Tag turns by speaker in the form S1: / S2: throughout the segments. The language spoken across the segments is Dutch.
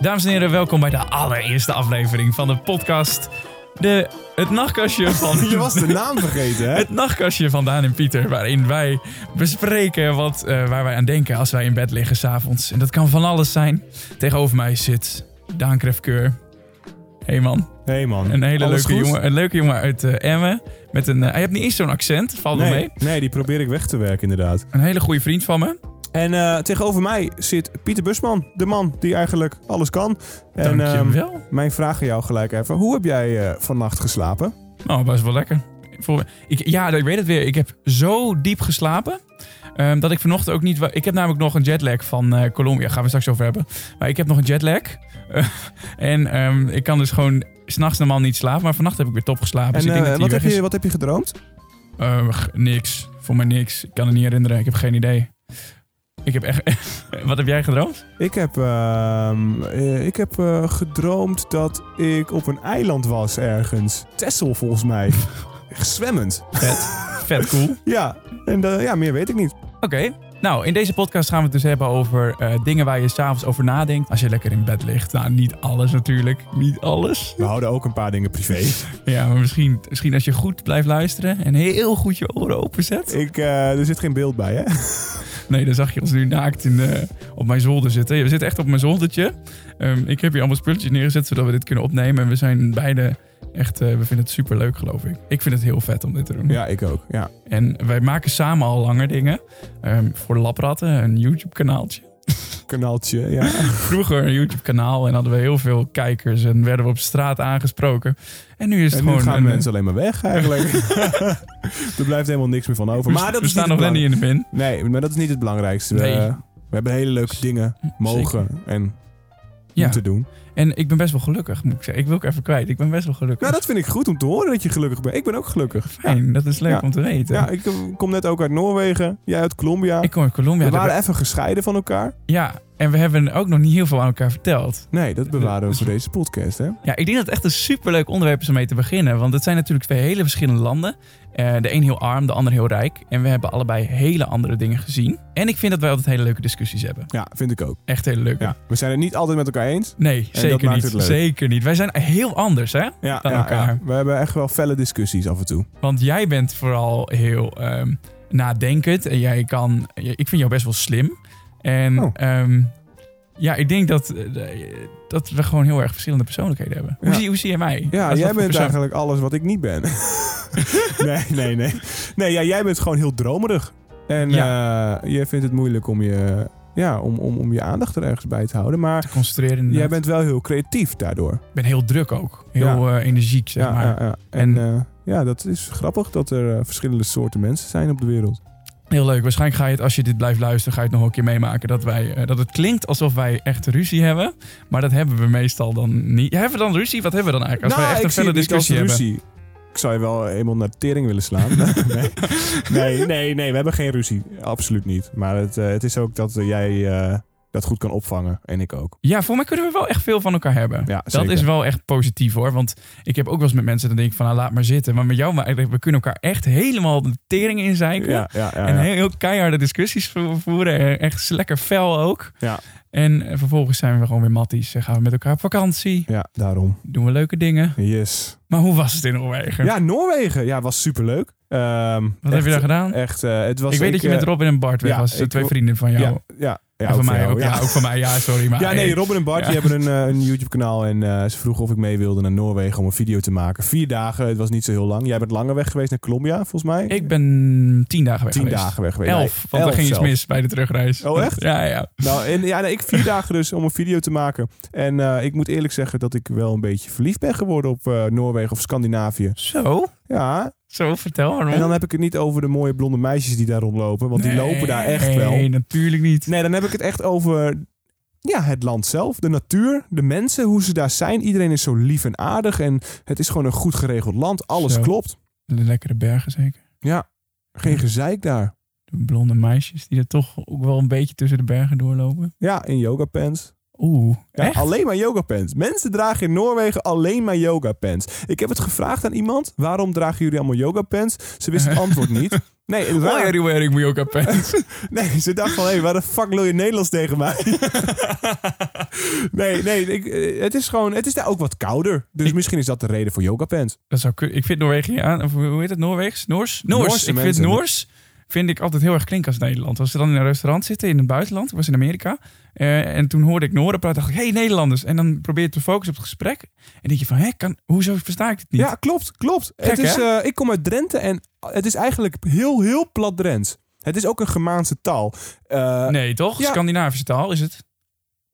S1: Dames en heren, welkom bij de allereerste aflevering van de podcast. De, het nachtkastje van...
S2: Je was de naam vergeten, hè?
S1: Het nachtkastje van Daan en Pieter, waarin wij bespreken wat, eh, waar wij aan denken als wij in bed liggen s'avonds. En dat kan van alles zijn. Tegenover mij zit Daan Krefkeur. Hey man,
S2: Nee, man.
S1: een hele
S2: Alles
S1: leuke
S2: goed?
S1: jongen, een leuke jongen uit eh, Emmen. Met een, eh, hij heeft niet eens zo'n accent, valt wel
S2: Nee,
S1: mee.
S2: nee, die probeer ik weg te werken, inderdaad.
S1: Een hele goede vriend van me.
S2: En eh, tegenover mij zit Pieter Busman, de man die eigenlijk alles kan. En ehm,
S1: Dankjewel.
S2: mijn vraag aan jou gelijk even. Hoe heb jij eh, vannacht geslapen?
S1: Nou, best wel lekker. Voor, ik, ja, ik weet het weer. Ik heb zo diep geslapen. ehm, dat ik vanochtend ook niet... wa- Ik heb namelijk nog een jetlag van eh, Colombia. Gaan we straks over hebben. Maar ik heb nog een jetlag. Eh, en ehm, ik kan dus gewoon s'nachts normaal niet slapen. Maar vannacht heb ik weer top geslapen. dus
S2: en
S1: ik denk
S2: eh,
S1: dat
S2: wat,
S1: die
S2: heb
S1: weg
S2: je,
S1: is.
S2: wat heb je gedroomd?
S1: Eh, g- niks. Voor mij niks. Ik kan het niet herinneren. Ik heb geen idee. Ik heb echt... wat heb jij gedroomd?
S2: Ik heb, ehm, eh, ik heb eh, gedroomd dat ik op een eiland was ergens. Texel volgens mij. Zwemmend.
S1: Vet cool.
S2: Ja, en eh, ja, meer weet ik niet.
S1: Oké. Nou, in deze podcast gaan we het dus hebben over eh, dingen waar je s'avonds over nadenkt. Als je lekker in bed ligt. Nou, niet alles natuurlijk. Niet alles.
S2: We houden ook een paar dingen privé.
S1: Ja, maar misschien, misschien als je goed blijft luisteren en heel goed je oren openzet.
S2: Ik, eh, er zit geen beeld bij, hè?
S1: Nee, dan zag je ons nu naakt in, eh, op mijn zolder zitten. We zitten echt op mijn zoldertje. Ehm, ik heb hier allemaal spulletjes neergezet zodat we dit kunnen opnemen. En we zijn beide echt, eh, we vinden het super leuk, geloof ik. Ik vind het heel vet om dit te doen.
S2: Ja, ik ook. Ja.
S1: En wij maken samen al langer dingen. Ehm, voor Lapratten, een YouTube-kanaaltje.
S2: kanaaltje. Ja.
S1: Vroeger een YouTube-kanaal en hadden we heel veel kijkers en werden we op straat aangesproken. En nu is het
S2: En nu
S1: gewoon.
S2: gaan
S1: een- eh,
S2: mensen alleen maar weg eigenlijk. er blijft helemaal niks meer van over. Maar dat
S1: we
S2: is
S1: staan
S2: niet
S1: nog
S2: het
S1: net niet in de min.
S2: belang- Nee, maar dat is niet het belangrijkste. We, eh,
S1: Nee.
S2: we hebben hele leuke dingen mogen en
S1: Ja.
S2: moeten doen.
S1: En ik ben best wel gelukkig, moet ik zeggen. Ik wil ook even kwijt. Ik ben best wel gelukkig.
S2: Nou, dat vind ik goed om te horen dat je gelukkig bent. Ik ben ook gelukkig. Ja,
S1: Fijn, dat is leuk
S2: Ja.
S1: om te weten.
S2: Ja, ik eh, kom net ook uit Noorwegen. Jij uit Colombia.
S1: Ik kom uit Colombia.
S2: we
S1: daar-
S2: waren even gescheiden van elkaar.
S1: Ja, en we hebben ook nog niet heel veel aan elkaar verteld.
S2: Nee, dat bewaren we
S1: Dus-
S2: voor deze podcast, hè?
S1: Ja, ik denk dat het echt een superleuk onderwerp is om mee te beginnen. Want het zijn natuurlijk twee hele verschillende landen. Eh, de een heel arm, de ander heel rijk. En we hebben allebei hele andere dingen gezien. En ik vind dat wij altijd hele leuke discussies hebben.
S2: Ja, vind ik ook.
S1: Echt hele leuke.
S2: Ja. We zijn het niet altijd met elkaar eens.
S1: Nee,
S2: dat
S1: zeker
S2: maakt
S1: niet.
S2: het leuk.
S1: Zeker niet. Wij zijn heel anders, hè?
S2: Ja,
S1: Aan elkaar.
S2: We hebben echt wel felle discussies af en toe.
S1: Want jij bent vooral heel ehm, nadenkend. En jij kan. Ik vind jou best wel slim. En
S2: Oh.
S1: ehm, ja, ik denk dat, eh, dat we gewoon heel erg verschillende persoonlijkheden hebben. Hoe,
S2: Ja.
S1: zie, hoe zie jij mij?
S2: Ja,
S1: Als wat
S2: jij
S1: voor
S2: bent
S1: persoon?
S2: eigenlijk alles wat ik niet ben. nee, nee, nee. Nee, ja, jij bent gewoon heel dromerig. En eh, jij vindt het moeilijk om je, ja, om, om, om je aandacht er ergens bij te houden. Maar
S1: Te concentreren. inderdaad.
S2: jij bent wel heel creatief daardoor.
S1: Ik ben heel druk ook. Heel eh, energiek, zeg
S2: ja,
S1: maar.
S2: ja, ja. En eh, ja, dat is grappig dat er eh, verschillende soorten mensen zijn op de wereld.
S1: Heel leuk. Waarschijnlijk ga je het, als je dit blijft luisteren, ga je het nog een keer meemaken. Dat, wij, eh, dat het klinkt alsof wij echt ruzie hebben. Maar dat hebben we meestal dan niet. Hebben we dan ruzie? Wat hebben we dan eigenlijk? Als wij echt
S2: Nou, ik
S1: een felle
S2: zie het niet als
S1: discussie hebben.
S2: ruzie. Ik zou je wel eenmaal naar de tering willen slaan. nee. nee, nee, nee, we hebben geen ruzie. Absoluut niet. Maar het, eh, het is ook dat eh, jij eh, dat goed kan opvangen. En ik ook.
S1: Ja, voor mij kunnen we wel echt veel van elkaar hebben.
S2: Ja,
S1: dat
S2: zeker.
S1: is wel echt positief hoor. Want ik heb ook wel eens met mensen, dan denk ik van nou, laat maar zitten. Maar met jou, maar eigenlijk, we kunnen elkaar echt helemaal de tering in zeiken.
S2: Ja, ja, ja,
S1: En
S2: ja.
S1: heel, heel keiharde discussies vo- voeren. En Echt lekker fel ook.
S2: Ja.
S1: En eh, vervolgens zijn we gewoon weer matties. En gaan we met elkaar op vakantie.
S2: Ja, daarom.
S1: Doen we leuke dingen.
S2: Yes.
S1: Maar hoe was het in Noorwegen?
S2: Ja, Noorwegen. Ja, was superleuk. Ehm,
S1: Wat heb
S2: echt-
S1: je daar gedaan?
S2: Echt, eh, het was
S1: ik weet dat je
S2: eh,
S1: met Robin en Bart weg
S2: ja,
S1: was. De
S2: ik
S1: twee
S2: wil-
S1: vrienden van jou.
S2: Ja, ja, ja
S1: en van
S2: voor
S1: mij
S2: jou,
S1: ook. Ja. ook van mij. Ja, sorry. Maar,
S2: Ja, nee,
S1: hey,
S2: Robin en Bart
S1: Ja.
S2: die hebben een, eh, een YouTube-kanaal. En eh, ze vroegen of ik mee wilde naar Noorwegen om een video te maken. Vier dagen, het was niet zo heel lang. Jij bent langer weg geweest naar Colombia, volgens mij.
S1: Ik ben tien dagen weg
S2: Tien
S1: geweest.
S2: dagen weg geweest.
S1: Elf, want er
S2: elf
S1: ging iets
S2: zelfs.
S1: mis bij de terugreis.
S2: Oh, echt?
S1: Ja, ja.
S2: Nou, en, ja, nee, ik vier dagen dus om een video te maken. En eh, ik moet eerlijk zeggen dat ik wel een beetje verliefd ben geworden op eh, Noorwegen of Scandinavië.
S1: Zo?
S2: Ja,
S1: Zo, vertel waarom.
S2: en dan heb ik het niet over de mooie blonde meisjes die daar rondlopen. Want die
S1: Nee,
S2: lopen daar echt wel.
S1: Nee, natuurlijk niet.
S2: Nee, dan heb ik het echt over ja, het land zelf, de natuur, de mensen, hoe ze daar zijn. Iedereen is zo lief en aardig en het is gewoon een goed geregeld land. Alles
S1: Zo.
S2: klopt.
S1: De lekkere bergen zeker.
S2: Geen gezeik daar.
S1: De blonde meisjes die er toch ook wel een beetje tussen de bergen doorlopen.
S2: Ja, in yoga pants.
S1: Oeh,
S2: Ja,
S1: echt?
S2: alleen maar yoga pants. Mensen dragen in Noorwegen alleen maar yoga pants. Ik heb het gevraagd aan iemand, waarom dragen jullie allemaal yoga pants? Ze wist het antwoord niet. Nee, het
S1: Why
S2: raar.
S1: are you wearing Mallorca pants?
S2: nee, ze dacht van, hé, waar de fuck wil je Nederlands tegen mij? nee, nee. Ik, eh, het is gewoon... Het is daar ook wat kouder. Dus
S1: Ik-
S2: misschien is dat de reden voor yoga pants.
S1: Dat zou kun- ik vind Noorwegen aan. Of hoe heet het? Noorweegs? Noors? Noors.
S2: Noorse
S1: ik
S2: mensen.
S1: vind Noors vind ik altijd heel erg klinken als Nederland. Als ze dan in een restaurant zitten in het buitenland. Ik was in Amerika. eh, en toen hoorde ik Nooren praten. dacht ik, hey, Nederlanders. En dan probeer je te focussen op het gesprek. En denk je van, hé, kan, hoezo versta ik dit niet?
S2: Ja, klopt, klopt. het
S1: Gek,
S2: is,
S1: hè?
S2: eh, ik kom uit Drenthe en het is eigenlijk heel, heel plat Drents. Het is ook een Gemaanse taal. Eh
S1: nee, toch?
S2: ja.
S1: Scandinavische taal is het?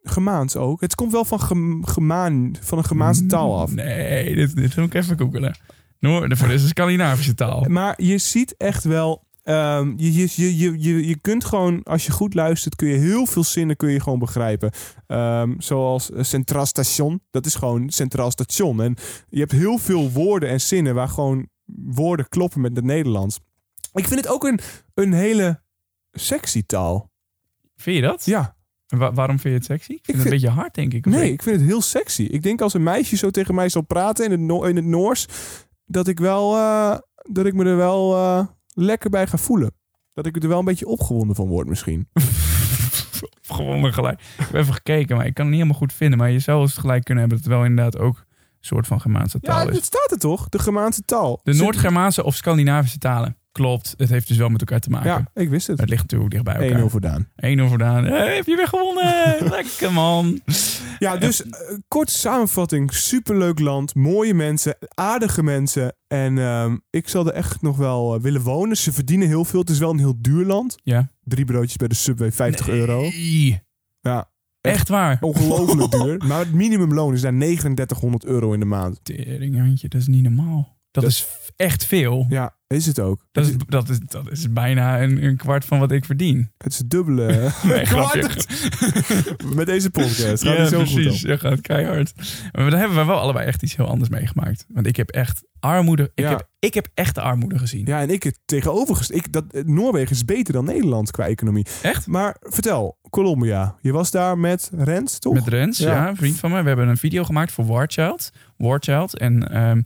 S2: Gemaans ook. Het komt wel van, gem- gemaan, van een Gemaanse taal af.
S1: Nee, dit, dit moet ik even googelen. Noor, dit is een Scandinavische taal.
S2: Maar je ziet echt wel. ehm, je, je, je, je, je, je kunt gewoon, als je goed luistert, kun je heel veel zinnen kun je gewoon begrijpen. Ehm, zoals eh, Centraal Station. Dat is gewoon Centraal Station. En je hebt heel veel woorden en zinnen waar gewoon woorden kloppen met het Nederlands. Ik vind het ook een, een hele sexy taal.
S1: Vind je dat?
S2: Ja,
S1: En wa- waarom vind je het sexy? Ik vind
S2: Ik
S1: het
S2: vind-
S1: een beetje hard, denk ik. of
S2: nee,
S1: niet?
S2: ik vind het heel sexy. Ik denk als een meisje zo tegen mij zal praten in het, No- in het Noors, dat ik, wel, eh, dat ik me er wel eh, lekker bij ga voelen. Dat ik er wel een beetje opgewonden van word misschien.
S1: Gewoon gelijk. Ik heb even gekeken, maar ik kan het niet helemaal goed vinden. Maar je zou eens gelijk kunnen hebben dat het wel inderdaad ook een soort van Germaanse
S2: Ja,
S1: taal
S2: dat
S1: is.
S2: staat er toch? De Germaanse taal.
S1: De
S2: Zit-
S1: Noord-Germaanse of Scandinavische talen. Klopt, het heeft dus wel met elkaar te maken.
S2: Ja, ik wist het.
S1: Het ligt natuurlijk dicht bij
S2: 1-0
S1: elkaar. 1-0
S2: voldaan.
S1: voldaan. Hey, heb je weer gewonnen? Lekker man.
S2: Ja, dus eh, kort samenvatting. Superleuk land, mooie mensen, aardige mensen. En ehm, ik zal er echt nog wel eh, willen wonen. Ze verdienen heel veel. Het is wel een heel duur land.
S1: Ja.
S2: Drie broodjes bij de Subway, 50 euro.
S1: Nee.
S2: Oh. Ja.
S1: Echt waar.
S2: Ongelooflijk duur. Maar het minimumloon is daar 3900 euro in de maand.
S1: Teringhandje, dat is niet normaal. Dat,
S2: Dat-
S1: is f- echt veel.
S2: Ja, is het ook.
S1: Dat, is, dat, is, dat is bijna een, een kwart van wat ik verdien.
S2: Het is het dubbele. eh,
S1: Nee, grapje.
S2: Met deze podcast. Gaat
S1: ja,
S2: niet zo goed
S1: precies.
S2: op.
S1: ja, gaat keihard. Maar daar hebben we wel allebei echt iets heel anders meegemaakt. Want ik heb echt armoede. Ik,
S2: Ja.
S1: heb, ik heb echt de armoede gezien.
S2: Ja, en ik het tegenovergest. Ik, dat, eh, Noorwegen is beter dan Nederland qua economie.
S1: Echt?
S2: Maar vertel, Colombia. Je was daar met Rens, toch?
S1: Met Rens, ja.
S2: Ja.
S1: een vriend van mij. We hebben een video gemaakt voor Warchild. Warchild en ehm,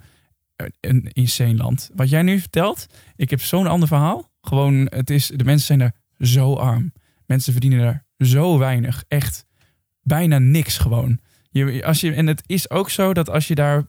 S1: een insane land. Wat jij nu vertelt, ik heb zo'n ander verhaal. Gewoon, het is, de mensen zijn er zo arm. Mensen verdienen daar zo weinig. Echt bijna niks gewoon. Je, als je, en het is ook zo dat als je daar...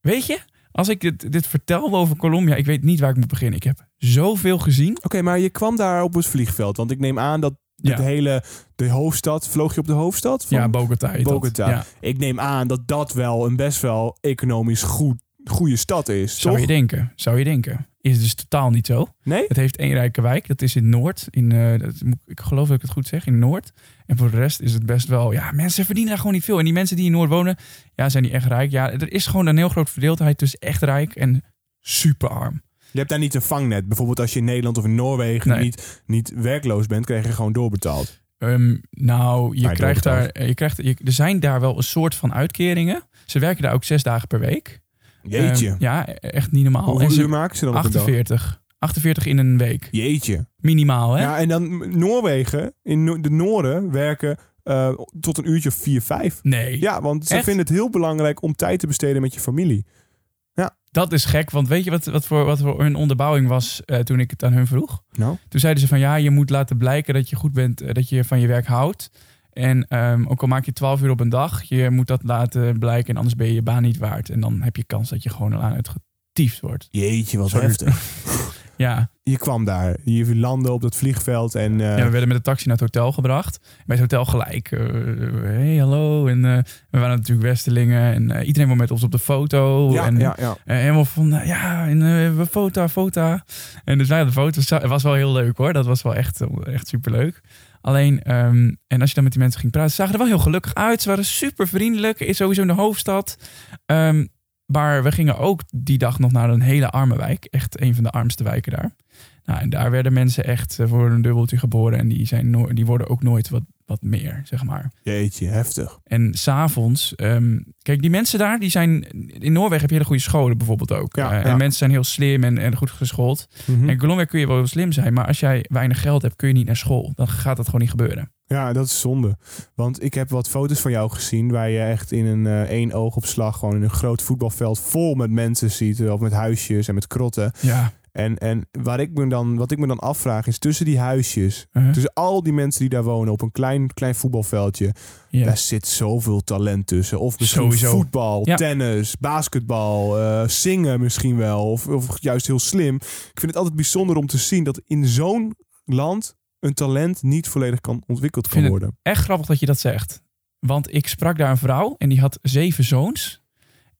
S1: Weet je, als ik dit, dit vertel over Colombia, ik weet niet waar ik moet beginnen. Ik heb zoveel gezien.
S2: Oké, maar je kwam daar op het vliegveld. Want ik neem aan dat
S1: Ja.
S2: de hele de hoofdstad. Vloog je op de hoofdstad? Van,
S1: ja, Bogota. heet dat.
S2: Bogota.
S1: Ja,
S2: Ik neem aan dat dat wel een best wel economisch goed, goede stad is.
S1: zou
S2: toch?
S1: je denken. Zou je denken. Is dus totaal niet zo.
S2: Nee?
S1: Het heeft één rijke wijk. Dat is in Noord. In, eh, dat, moet- ik geloof dat ik het goed zeg. In Noord. En voor de rest is het best wel... Ja, mensen verdienen daar gewoon niet veel. En die mensen die in Noord wonen... Ja, zijn die echt rijk? Ja, er is gewoon een heel groot verdeeldheid tussen echt rijk en superarm.
S2: Je hebt daar niet een vangnet. Bijvoorbeeld als je in Nederland of in Noorwegen
S1: Nee.
S2: niet, niet werkloos bent, krijg je gewoon doorbetaald.
S1: Ehm, nou, je
S2: Maar
S1: krijgt
S2: door het
S1: daar... Je krijgt, je- er zijn daar wel een soort van uitkeringen. Ze werken daar ook zes dagen per week.
S2: Jeetje.
S1: Ehm, ja, e- echt niet normaal.
S2: Hoeveel
S1: en ze-
S2: uur maken ze dan op een dag?
S1: 48. 48 in een week.
S2: Jeetje.
S1: Minimaal, hè?
S2: Ja, en dan m- Noorwegen, in Noor- de Noorden werken eh, tot een uurtje of vier, vijf.
S1: Nee.
S2: Ja, want ze
S1: Echt?
S2: vinden het heel belangrijk om tijd te besteden met je familie.
S1: Dat is gek, want weet je wat, wat, voor, wat voor hun onderbouwing was eh, toen ik het aan hun vroeg?
S2: Nou?
S1: Toen zeiden ze van ja, je moet laten blijken dat je goed bent, eh, dat je van je werk houdt. En ehm, ook al maak je 12 uur op een dag, je moet dat laten blijken en anders ben je je baan niet waard. En dan heb je kans dat je gewoon aan het getiefd wordt.
S2: Jeetje, wat
S1: Sorry.
S2: heftig.
S1: Ja.
S2: Je kwam daar, je landde op dat vliegveld en... eh,
S1: ja, we werden met de taxi naar het hotel gebracht. Bij het hotel gelijk, eh, hey, hallo. En eh, we waren natuurlijk Westelingen en eh, iedereen was met ons op de foto.
S2: ja,
S1: en,
S2: ja, ja.
S1: En helemaal van, nou ja, en, eh, we foto, foto. En dus wij de foto's. Het was wel heel leuk hoor. Dat was wel echt, eh, echt superleuk. Alleen, ehm, en als je dan met die mensen ging praten, ze zagen er wel heel gelukkig uit. Ze waren super vriendelijk. Is sowieso in de hoofdstad. Ehm, maar we gingen ook die dag nog naar een hele arme wijk. Echt een van de armste wijken daar. Nou, en daar werden mensen echt eh, voor een dubbeltje geboren. En die, zijn nooit- die worden ook nooit wat, wat meer, zeg maar.
S2: Jeetje, heftig.
S1: En s'avonds, ehm kijk, die mensen daar, die zijn. In Noorwegen heb je hele goede scholen bijvoorbeeld ook.
S2: Ja,
S1: Eh,
S2: ja.
S1: En mensen zijn heel slim en, en goed geschoold.
S2: Mhm.
S1: En in Colombia kun je wel heel slim zijn, maar als jij weinig geld hebt, kun je niet naar school. Dan gaat dat gewoon niet gebeuren.
S2: Ja, dat is zonde. Want ik heb wat foto's van jou gezien waar je echt in een eh, één eh, oogopslag gewoon in een groot voetbalveld vol met mensen ziet. Of met huisjes en met krotten.
S1: Ja,
S2: En, en waar ik me dan, wat ik me dan afvraag is tussen die huisjes,
S1: Uh-huh.
S2: tussen al die mensen die daar wonen op een klein, klein voetbalveldje,
S1: Ja.
S2: daar zit zoveel talent tussen. Of misschien
S1: Sowieso.
S2: voetbal,
S1: Ja.
S2: tennis, basketbal, eh, zingen misschien wel. Of, of juist heel slim. Ik vind het altijd bijzonder om te zien dat in zo'n land een talent niet volledig kan ontwikkeld
S1: vind
S2: kan
S1: het-
S2: worden.
S1: Echt grappig dat je dat zegt. Want ik sprak daar een vrouw en die had zeven zoons.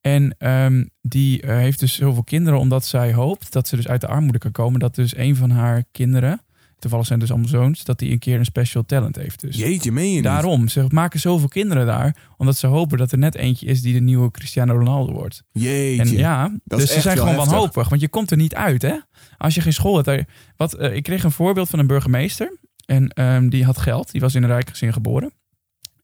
S1: En ehm, die eh, heeft dus heel veel kinderen omdat zij hoopt dat ze dus uit de armoede kan komen. Dat dus een van haar kinderen, toevallig zijn het dus allemaal zoons, dat die een keer een special talent heeft. Dus.
S2: Jeetje, meen je niet?
S1: Daarom, ze maken zoveel kinderen daar, omdat ze hopen dat er net eentje is die de nieuwe Cristiano Ronaldo wordt.
S2: Jeetje.
S1: En ja,
S2: Dat is
S1: dus ze
S2: echt
S1: zijn
S2: wel
S1: gewoon
S2: heftig.
S1: wanhopig, want je komt er niet uit, hè? Als je geen school hebt. daar- Wat, eh, ik kreeg een voorbeeld van een burgemeester en ehm, die had geld, die was in een rijk gezin geboren.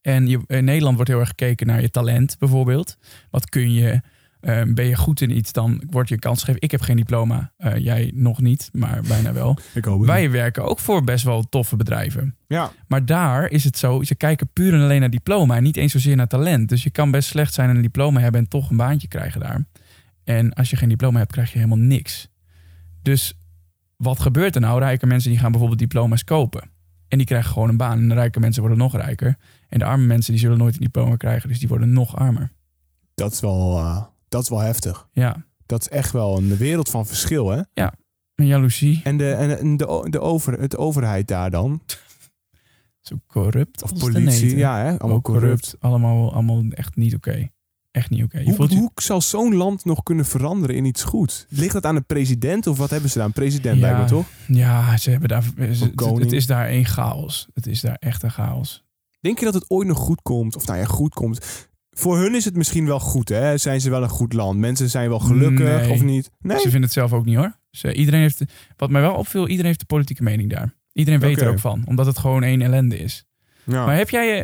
S1: En je, in Nederland wordt heel erg gekeken naar je talent, bijvoorbeeld. Wat kun je? Ehm, ben je goed in iets? Dan wordt je een kans gegeven. Ik heb geen diploma, eh, jij nog niet, maar bijna wel.
S2: ik hoop het.
S1: Wij werken ook voor best wel toffe bedrijven.
S2: Ja.
S1: Maar daar is het zo, ze kijken puur en alleen naar diploma en niet eens zozeer naar talent. Dus je kan best slecht zijn en een diploma hebben en toch een baantje krijgen daar. En als je geen diploma hebt, krijg je helemaal niks. Dus wat gebeurt er nou? Rijke mensen die gaan bijvoorbeeld diploma's kopen. En die krijgen gewoon een baan. En de rijke mensen worden nog rijker. En de arme mensen die zullen nooit een diploma krijgen. Dus die worden nog armer.
S2: Dat is wel, eh, dat is wel heftig.
S1: Ja.
S2: Dat is echt wel een wereld van verschil, hè?
S1: En jaloezie.
S2: En de, en en de, o- de over, het overheid daar dan?
S1: Zo corrupt.
S2: Of
S1: als de
S2: politie?
S1: neten.
S2: Ja, hè? Allemaal
S1: Ook
S2: corrupt.
S1: Allemaal, allemaal echt niet oké. Echt niet oké. Je
S2: Hoe,
S1: voelt je-
S2: hoe zal zo'n land nog kunnen veranderen in iets goeds? Ligt dat aan de president of wat hebben ze daar? Een president
S1: Ja.
S2: lijkt me toch?
S1: Ja, ze hebben daar, ze- het,
S2: koning.
S1: het is daar één chaos. Het is daar echt een chaos.
S2: Denk je dat het ooit nog goed komt? Of nou ja, goed komt. Voor hun is het misschien wel goed, hè? Zijn ze wel een goed land? Mensen zijn wel gelukkig
S1: Nee.
S2: of niet? Nee.
S1: Ze vinden het zelf ook niet hoor. Ze, iedereen heeft, wat mij wel opviel, iedereen heeft de politieke mening daar. Iedereen weet er
S2: Oké. Ah.
S1: ook van, omdat het gewoon één ellende is.
S2: Ja.
S1: Maar heb jij je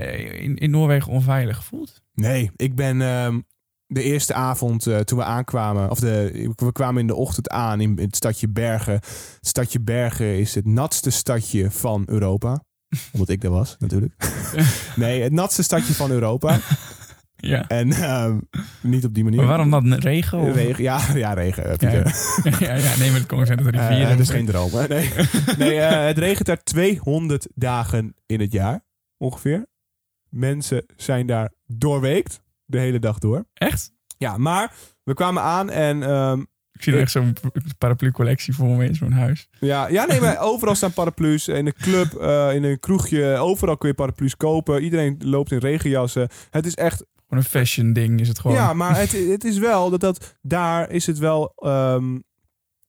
S1: in, in Noorwegen onveilig gevoeld?
S2: Nee, ik ben ehm, de eerste avond eh, toen we aankwamen, of de, we kwamen in de ochtend aan in het stadje Bergen. Het stadje Bergen is het natste stadje van Europa. Omdat ik daar was, natuurlijk. nee, het natste stadje van Europa.
S1: Ja.
S2: En ehm, niet op die manier.
S1: Maar waarom dan regen? Of?
S2: Regen, ja, ja, regen. eh,
S1: Ja,
S2: Pieter.
S1: ja, ja, nee, maar het komt uit de
S2: Eh,
S1: rivieren.
S2: dat is geen droom. hè? Nee, nee eh, het regent daar 200 dagen in het jaar, ongeveer. Mensen zijn daar doorweekt, de hele dag door.
S1: Echt?
S2: Ja, maar we kwamen aan en... ehm,
S1: Ik zie er echt zo'n paraplu collectie voor me in zo'n huis.
S2: ja, ja, nee, maar overal staan paraplu's. In de club, eh, in een kroegje, overal kun je paraplu's kopen. Iedereen loopt in regenjassen. Het is echt...
S1: Gewoon een fashion ding is het gewoon.
S2: Ja, maar het, het is wel dat, dat... Daar is het wel... ehm,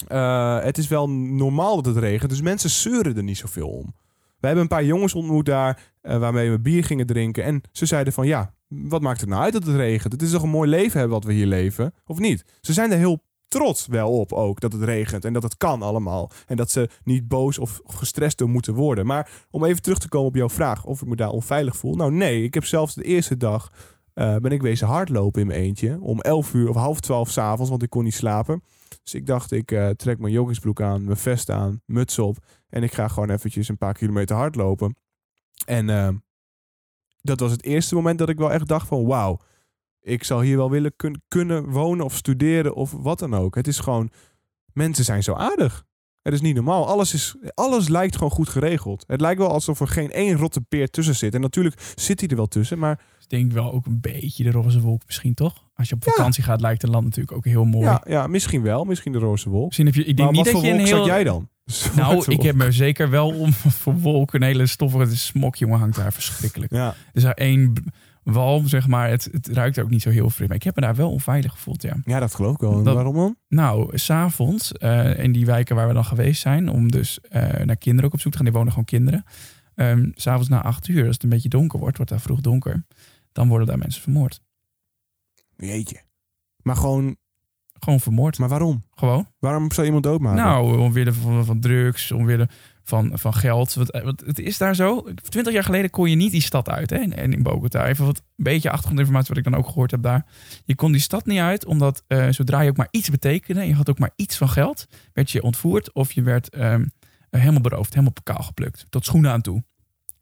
S2: eh, het is wel normaal dat het regent. Dus mensen zeuren er niet zoveel om. We hebben een paar jongens ontmoet daar... eh, waarmee we bier gingen drinken. En ze zeiden van... Ja, wat maakt het nou uit dat het regent? Het is toch een mooi leven hebben wat we hier leven? Of niet? Ze zijn er heel trots wel op ook dat het regent en dat het kan allemaal. En dat ze niet boos of gestrest door moeten worden. Maar om even terug te komen op jouw vraag of ik me daar onveilig voel. Nou nee, ik heb zelfs de eerste dag eh, ben ik wezen hardlopen in mijn eentje. Om 11 uur of half 12 s'avonds, want ik kon niet slapen. Dus ik dacht, ik eh, trek mijn joggingsbroek aan, mijn vest aan, muts op. En ik ga gewoon eventjes een paar kilometer hardlopen. En eh, dat was het eerste moment dat ik wel echt dacht van wauw ik zou hier wel willen kun- kunnen wonen of studeren of wat dan ook. Het is gewoon, mensen zijn zo aardig. Het is niet normaal. Alles, is, alles lijkt gewoon goed geregeld. Het lijkt wel alsof er geen één rotte peer tussen zit. En natuurlijk zit hij er wel tussen, maar
S1: Ik denk wel ook een beetje de roze wolk misschien toch? Als je op
S2: Ja.
S1: vakantie gaat lijkt het land natuurlijk ook heel mooi.
S2: ja, ja, misschien wel. Misschien de roze wolk.
S1: Misschien heb je, ik
S2: Maar
S1: denk
S2: wat
S1: niet dat
S2: voor
S1: je een
S2: wolk
S1: heel...
S2: zat jij dan?
S1: Nou,
S2: Zwarte
S1: ik
S2: wolk.
S1: heb me zeker wel om voor wolken een hele stoffige smok, jongen, hangt daar verschrikkelijk.
S2: Ja,
S1: Er is daar één b- walm, zeg maar. Het, het ruikt ook niet zo heel fris. Maar ik heb me daar wel onveilig gevoeld, ja.
S2: ja, dat geloof ik wel. En
S1: Dat-
S2: Waarom dan?
S1: Nou, s'avonds, eh in die wijken waar we dan geweest zijn, om dus eh, naar kinderen ook op zoek te gaan. Die wonen gewoon kinderen. Ehm, s s'avonds na acht uur, als het een beetje donker wordt, wordt daar vroeg donker. Dan worden daar mensen vermoord.
S2: Jeetje. Maar gewoon,
S1: Gewoon vermoord.
S2: maar waarom?
S1: Gewoon.
S2: Waarom zou iemand doodmaken?
S1: Nou, omwille van, van drugs, omwille van, van geld. Wat, eh, wat, het is daar zo. Twintig jaar geleden kon je niet die stad uit. Hè? En in Bogota. Even wat een beetje achtergrondinformatie wat ik dan ook gehoord heb daar. Je kon die stad niet uit, omdat eh, zodra je ook maar iets betekende... en je had ook maar iets van geld, werd je ontvoerd... of je werd ehm, helemaal beroofd, helemaal pekaal geplukt. Tot schoenen aan toe.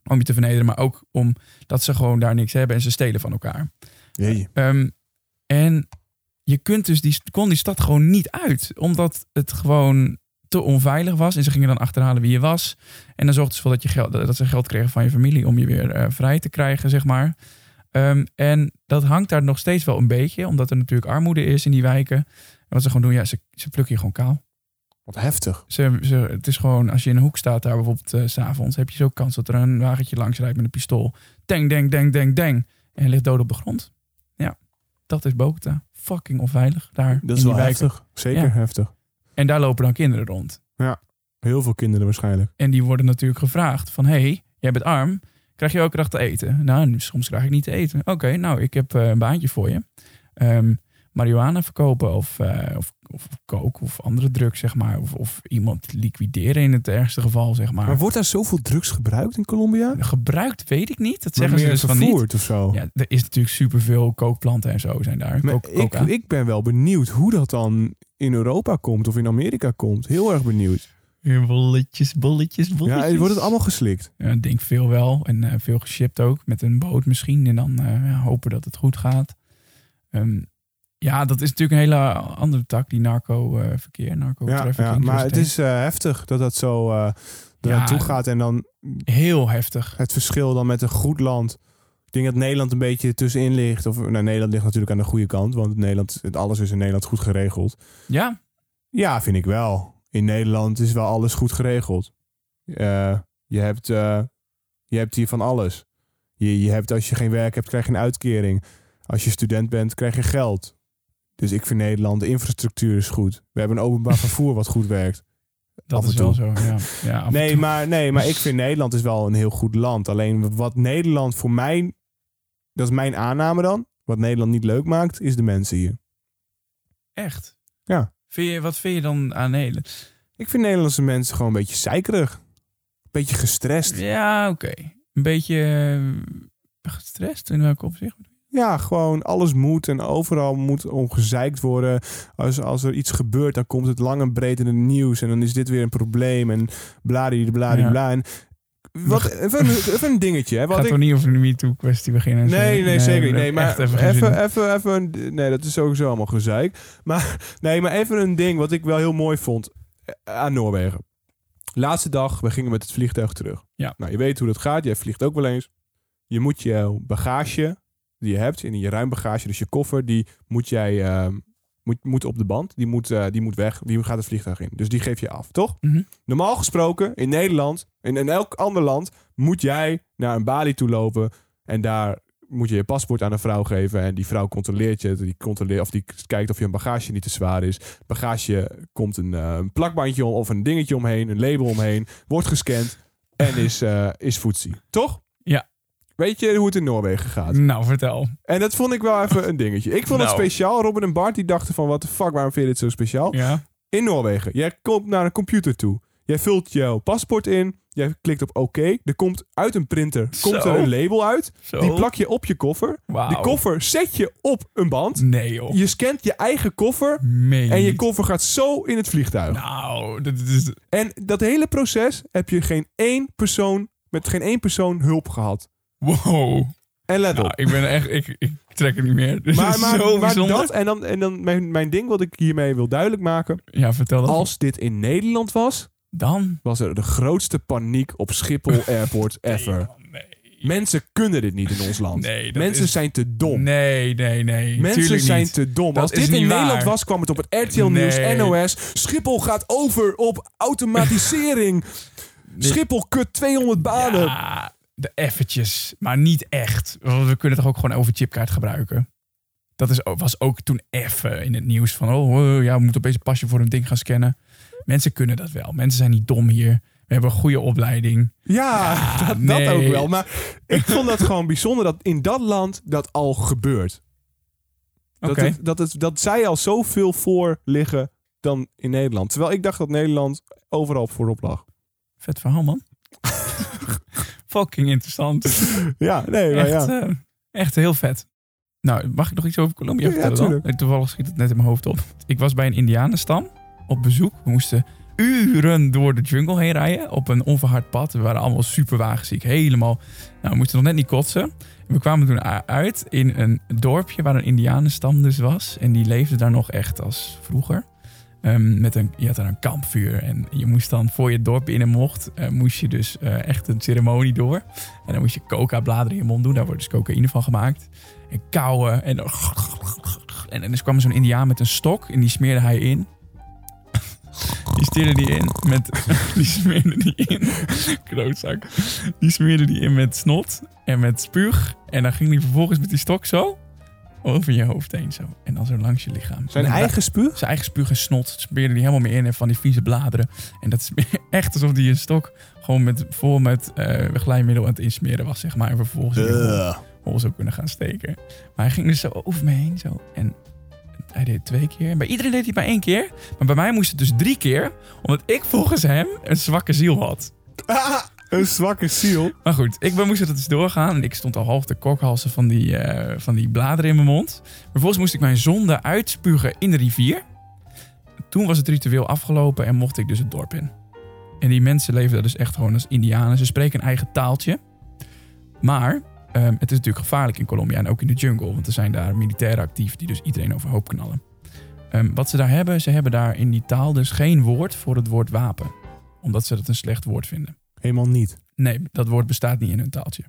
S1: Om je te vernederen, maar ook omdat ze gewoon daar niks hebben... en ze stelen van elkaar.
S2: Jeetje.
S1: Ehm, en je kunt dus die, kon die stad gewoon niet uit, omdat het gewoon te onveilig was. En ze gingen dan achterhalen wie je was. En dan zorgden ze ervoor dat, je geld, dat ze geld kregen van je familie om je weer eh, vrij te krijgen, zeg maar. Ehm, en dat hangt daar nog steeds wel een beetje, omdat er natuurlijk armoede is in die wijken. En wat ze gewoon doen, ja, ze, ze plukken je gewoon kaal.
S2: Wat heftig.
S1: Ze, ze, het is gewoon, als je in een hoek staat daar bijvoorbeeld eh, s s'avonds, heb je zo kans dat er een wagentje langs rijdt met een pistool. Deng, deng, deng, deng, deng. En hij ligt dood op de grond. Ja, dat is Bogota. Fucking onveilig daar
S2: Dat
S1: in
S2: is
S1: die
S2: wel
S1: wijken.
S2: heftig. Zeker
S1: Ja.
S2: heftig.
S1: En daar lopen dan kinderen rond.
S2: Heel veel kinderen waarschijnlijk.
S1: En die worden natuurlijk gevraagd van, hé, hey, jij bent arm, krijg je elke dag te eten? Nou, nu- soms krijg ik niet te eten. Oké, nou, ik heb eh, een baantje voor je. Ehm marihuana verkopen of, eh of, of kook of andere drugs, zeg maar. Of, of iemand liquideren in het ergste geval, zeg maar.
S2: Maar wordt daar zoveel drugs gebruikt in Colombia?
S1: Gebruikt weet ik niet. Dat
S2: Maar
S1: zeggen ze
S2: meer
S1: dus van niet.
S2: vervoerd of zo.
S1: Ja, er is natuurlijk superveel kookplanten en zo zijn daar.
S2: Maar
S1: Kook,
S2: ik,
S1: coca.
S2: ik ben wel benieuwd hoe dat dan in Europa komt of in Amerika komt. Heel erg benieuwd.
S1: Bolletjes, bolletjes, bolletjes.
S2: Ja, wordt het allemaal geslikt?
S1: Ja, ik denk veel wel. En eh, veel geshipped ook. Met een boot misschien. En dan eh, ja, hopen dat het goed gaat. Ehm, ja, dat is natuurlijk een hele andere tak. Die eh, narco-verkeer,
S2: Ja,
S1: narco-trafficking.
S2: ja, maar
S1: zoals
S2: het is eh, heftig dat dat zo eh
S1: Ja.
S2: naartoe gaat. En dan
S1: heet. Heel heftig.
S2: het verschil dan met een goed land. Ik denk dat Nederland een beetje tussenin ligt. Of, nou, Nederland ligt natuurlijk aan de goede kant. Want Nederland, het- alles is in Nederland goed geregeld.
S1: Ja,
S2: Ja, vind ik wel. In Nederland is wel alles goed geregeld. Eh, je, hebt, eh, je hebt hier van alles. Je, je hebt, als je geen werk hebt, krijg je een uitkering. Als je student bent, krijg je geld. Dus ik vind Nederland, de infrastructuur is goed. We hebben een openbaar vervoer wat goed werkt.
S1: dat
S2: Af en
S1: is wel zo. Ja, ja, af en
S2: Nee
S1: toe.
S2: maar, nee, maar ik vind Nederland is wel een heel goed land. Alleen wat Nederland voor mij, dat is mijn aanname dan, wat Nederland niet leuk maakt, is de mensen hier.
S1: Echt?
S2: Ja.
S1: Vind je, wat vind je dan aan Nederland?
S2: Ik vind Nederlandse mensen gewoon een beetje zeikerig. Een beetje gestrest.
S1: Ja, oké. Een beetje eh, gestrest in welk opzicht?
S2: Ja, gewoon alles moet en overal moet omgezeikt worden. Als, als er iets gebeurt, dan komt het lang en breed in het nieuws. En dan is dit weer een probleem en bladibladibla. En wat, even, een- even een dingetje. Hè,
S1: Het gaat
S2: wat ik,
S1: toch niet over de MeToo-kwestie beginnen? en zo?
S2: Nee, nee, zeker niet.
S1: we
S2: Nee,
S1: hebben
S2: maar
S1: echt even
S2: even,
S1: geen zin in.
S2: even, even, een- Nee, dat is sowieso allemaal gezeik. Maar, nee, maar even een ding wat ik wel heel mooi vond eh, aan Noorwegen. Laatste dag, we gingen met het vliegtuig terug.
S1: Ja.
S2: Nou, je weet hoe dat gaat. Jij vliegt ook wel eens. Je moet je bagage die je hebt, in je ruim bagage, dus je koffer, die moet jij eh, moet, moet op de band. Die moet, eh, die moet weg. Die gaat het vliegtuig in. Dus die geef je af, toch?
S1: Mhm.
S2: Normaal gesproken, in Nederland en in elk ander land, moet jij naar een balie toe lopen en daar moet je je paspoort aan een vrouw geven en die vrouw controleert je. Die controleert of die kijkt of je bagage niet te zwaar is. Bagage komt een, eh, een plakbandje om of een dingetje omheen, een label omheen, wordt gescand en is, eh is footsie. Toch?
S1: Ja.
S2: Weet je hoe het in Noorwegen gaat?
S1: Nou, vertel.
S2: En dat vond ik wel even een dingetje. Ik vond het
S1: Nou.
S2: speciaal. Robin en Bart die dachten van, wat de fuck, waarom vind je dit zo speciaal?
S1: Ja.
S2: In Noorwegen. Jij komt naar een computer toe. Jij vult jouw paspoort in. Jij klikt op oké. Er komt uit een printer komt
S1: Zo.
S2: er een label uit.
S1: Zo.
S2: Die plak je op je koffer.
S1: Wauw.
S2: Die koffer zet je op een band.
S1: Nee, joh.
S2: Je scant je eigen koffer.
S1: Meen
S2: En je
S1: niet.
S2: koffer gaat zo in het vliegtuig.
S1: Nou, dat is...
S2: En dat hele proces heb je geen één persoon, met geen één persoon hulp gehad.
S1: Wow.
S2: En let
S1: Nou,
S2: op.
S1: ik ben echt... Ik, ik trek het niet meer. Dit
S2: Maar,
S1: is
S2: maar,
S1: zo
S2: maar
S1: bijzonder.
S2: dat en dan, en dan mijn, mijn ding wat ik hiermee wil duidelijk maken.
S1: Ja, vertel dat.
S2: Als dit in Nederland was,
S1: Dan?
S2: was er de grootste paniek op Schiphol Airport ever.
S1: Nee, nee.
S2: Mensen kunnen dit niet in ons land.
S1: Nee, dat
S2: Mensen
S1: is-
S2: zijn te dom.
S1: Nee, nee, nee.
S2: Mensen
S1: Tuurlijk
S2: zijn
S1: niet.
S2: te dom.
S1: Dat
S2: Als
S1: is
S2: dit in
S1: niet waar.
S2: Nederland was, kwam het op het RTL
S1: Nee.
S2: Nieuws, NOS. Schiphol gaat over op automatisering. Schiphol kut 200 banen.
S1: Ja, de eventjes. Maar niet echt. Want we kunnen toch ook gewoon over chipkaart gebruiken? Dat is, ook- was ook toen even in het nieuws van... Oh, oh, ja, we moeten opeens een pasje voor een ding gaan scannen. Mensen kunnen dat wel. Mensen zijn niet dom hier. We hebben een goede opleiding.
S2: Ja, dat, dat
S1: nee.
S2: ook wel. Maar ik vond dat gewoon bijzonder dat in dat land dat al gebeurt.
S1: Oké.
S2: Dat, het, dat, het, dat zij al zoveel voor liggen dan in Nederland. Terwijl ik dacht dat Nederland overal voorop lag.
S1: Vet verhaal, man. Fucking interessant.
S2: Ja, nee, maar
S1: echt,
S2: ja.
S1: eh, echt heel vet. Nou, mag ik nog iets over Colombia
S2: Ja,
S1: vertellen dan?
S2: tuurlijk.
S1: Eh, Toevallig schiet het net in mijn hoofd op. Ik was bij een indianenstam op bezoek. We moesten uren door de jungle heen rijden op een onverhard pad. We waren allemaal super wagenziek, helemaal. Nou, we moesten nog net niet kotsen. We kwamen toen a- uit in een dorpje waar een indianenstam dus was. En die leefde daar nog echt als vroeger. Ehm, met een, je had daar een kampvuur en je moest dan voor je het dorp binnen mocht, eh, moest je dus eh, echt een ceremonie door. En dan moest je coca-bladeren in je mond doen, daar wordt dus cocaïne van gemaakt. En kauwen en dan... En, en dus kwam er zo'n indiaan met een stok en die smeerde hij in. Die stierde die in met... Die smeerde die in. Klootzak. Die smeerde die in met snot en met spuug. En dan ging die vervolgens met die stok zo over je hoofd heen zo. En dan zo langs je lichaam.
S2: Zijn
S1: En dan-
S2: eigen spuug?
S1: zijn eigen spuug en snot smeerde hij helemaal mee in en van die vieze bladeren. En dat is echt alsof hij een stok gewoon met, vol met eh, glijmiddel aan het insmeren was, zeg maar. En vervolgens weer hol- hol zou kunnen gaan steken. Maar hij ging dus zo over me heen, zo. En hij deed het twee keer. En bij iedereen deed hij het maar één keer. Maar bij mij moest het dus drie keer, omdat ik volgens hem een zwakke ziel had.
S2: Ah, een zwakke ziel.
S1: Maar goed, ik ben- moest het dus doorgaan. En ik stond al half de kokhalsen van die, eh, van die bladeren in mijn mond. Vervolgens moest ik mijn zonde uitspugen in de rivier. Toen was het ritueel afgelopen en mocht ik dus het dorp in. En die mensen leven daar dus echt gewoon als indianen. Ze spreken een eigen taaltje. Maar ehm, het is natuurlijk gevaarlijk in Colombia en ook in de jungle. Want er zijn daar militairen actief die dus iedereen overhoop knallen. Ehm, wat ze daar hebben, ze hebben daar in die taal dus geen woord voor het woord wapen. Omdat ze dat een slecht woord vinden.
S2: Helemaal niet.
S1: Nee, dat woord bestaat niet in hun taaltje.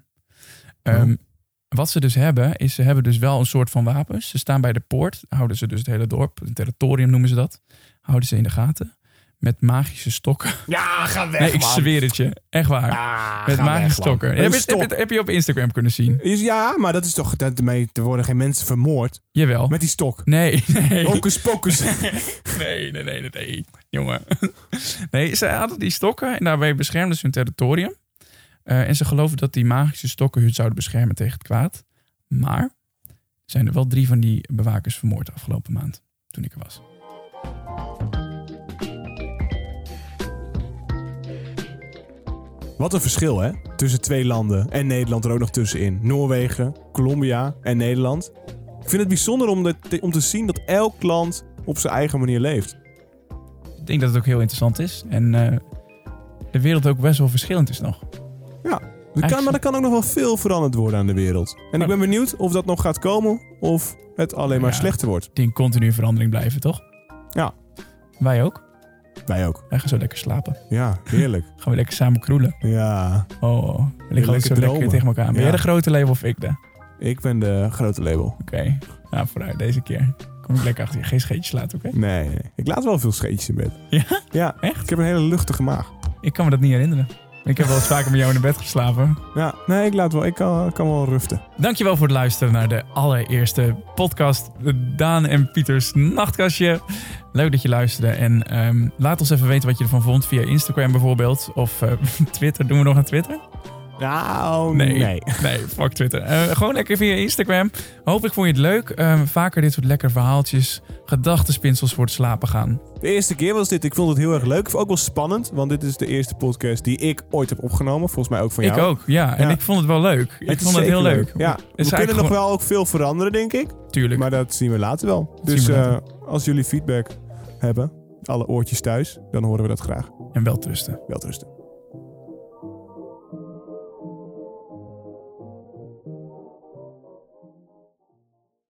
S1: Ehm, Wat ze dus hebben, is ze hebben dus wel een soort van wapens. Ze staan bij de poort, houden ze dus het hele dorp, een territorium noemen ze dat, houden ze in de gaten. Met magische stokken.
S2: Ja, ga weg,
S1: nee, ik zweer het je. Echt waar. met magische stokken. Heb, je- heb, je- heb je op Instagram kunnen zien?
S2: Is, ja, maar dat is toch... Daarmee er worden geen mensen vermoord.
S1: Jawel.
S2: Met Oh, die stok.
S1: Nee, nee.
S2: Hocus pocus.
S1: nee, nee, nee, nee, nee. Jongen. Nee, ze hadden die stokken en daarbij beschermden ze hun territorium. Eh, en ze geloofden dat die magische stokken hun zouden beschermen tegen het kwaad. Maar zijn er wel drie van die bewakers vermoord afgelopen maand toen ik er was.
S2: Wat een verschil, hè? Tussen twee landen. En Nederland er ook nog tussenin. Noorwegen, Colombia en Nederland. Ik vind het bijzonder om, de- om te zien dat elk land op zijn eigen manier leeft.
S1: Ik denk dat het ook heel interessant is. En eh, de wereld ook best wel verschillend is nog.
S2: Er kan, maar er kan ook nog wel veel veranderd worden aan de wereld. En ik ben benieuwd of dat nog gaat komen of het alleen maar
S1: Ja.
S2: slechter wordt.
S1: Die in continue verandering blijven, toch?
S2: Ja.
S1: Wij ook.
S2: Wij ook.
S1: Wij gaan zo lekker slapen.
S2: Ja, heerlijk.
S1: Gaan we lekker samen kroelen.
S2: ja,
S1: Oh, we liggen altijd zo
S2: lekker dromen.
S1: lekker tegen elkaar. Ben
S2: Ja.
S1: jij de grote leeuw of ik de?
S2: ik ben de grote label.
S1: Oké, nou vooruit deze keer. Kom ik lekker achter je. Geen scheetjes laten, oké?
S2: Nee, nee. ik laat wel veel scheetjes in bed.
S1: Ja?
S2: Ja,
S1: Echt?
S2: ik heb een hele luchtige maag.
S1: Ik kan me dat niet herinneren. Ik heb wel eens vaker met jou in bed geslapen.
S2: Ja, nee, ik laat wel. Ik kan, kan wel ruften.
S1: Dankjewel voor het luisteren naar de allereerste podcast. Daan en Pieters Nachtkastje. Leuk dat je luisterde. En ehm, laat ons even weten wat je ervan vond. Via Instagram bijvoorbeeld. Of eh, Twitter. Doen we nog aan Twitter?
S2: Nou,
S1: Nee.
S2: nee.
S1: Nee, fuck Twitter. Eh, gewoon lekker via Instagram. Hopelijk vond je het leuk. Ehm, vaker dit soort lekkere verhaaltjes. Gedachtenspinsels voor het slapen gaan.
S2: De eerste keer was dit. Ik vond het heel erg leuk. Ook wel spannend, want dit is de eerste podcast die ik ooit heb opgenomen. Volgens mij ook van jou.
S1: Ik ook, ja. En
S2: Ja.
S1: ik vond het wel leuk. ik
S2: Het is
S1: vond het heel
S2: zeker
S1: leuk.
S2: Ja, we kunnen
S1: eigenlijk
S2: nog wel ook veel veranderen, denk ik.
S1: Tuurlijk.
S2: Maar dat zien we later wel.
S1: zien
S2: Dus
S1: we
S2: eh,
S1: later.
S2: als jullie feedback hebben, alle oortjes thuis, dan horen we dat graag.
S1: En wel trusten.
S2: Welterusten.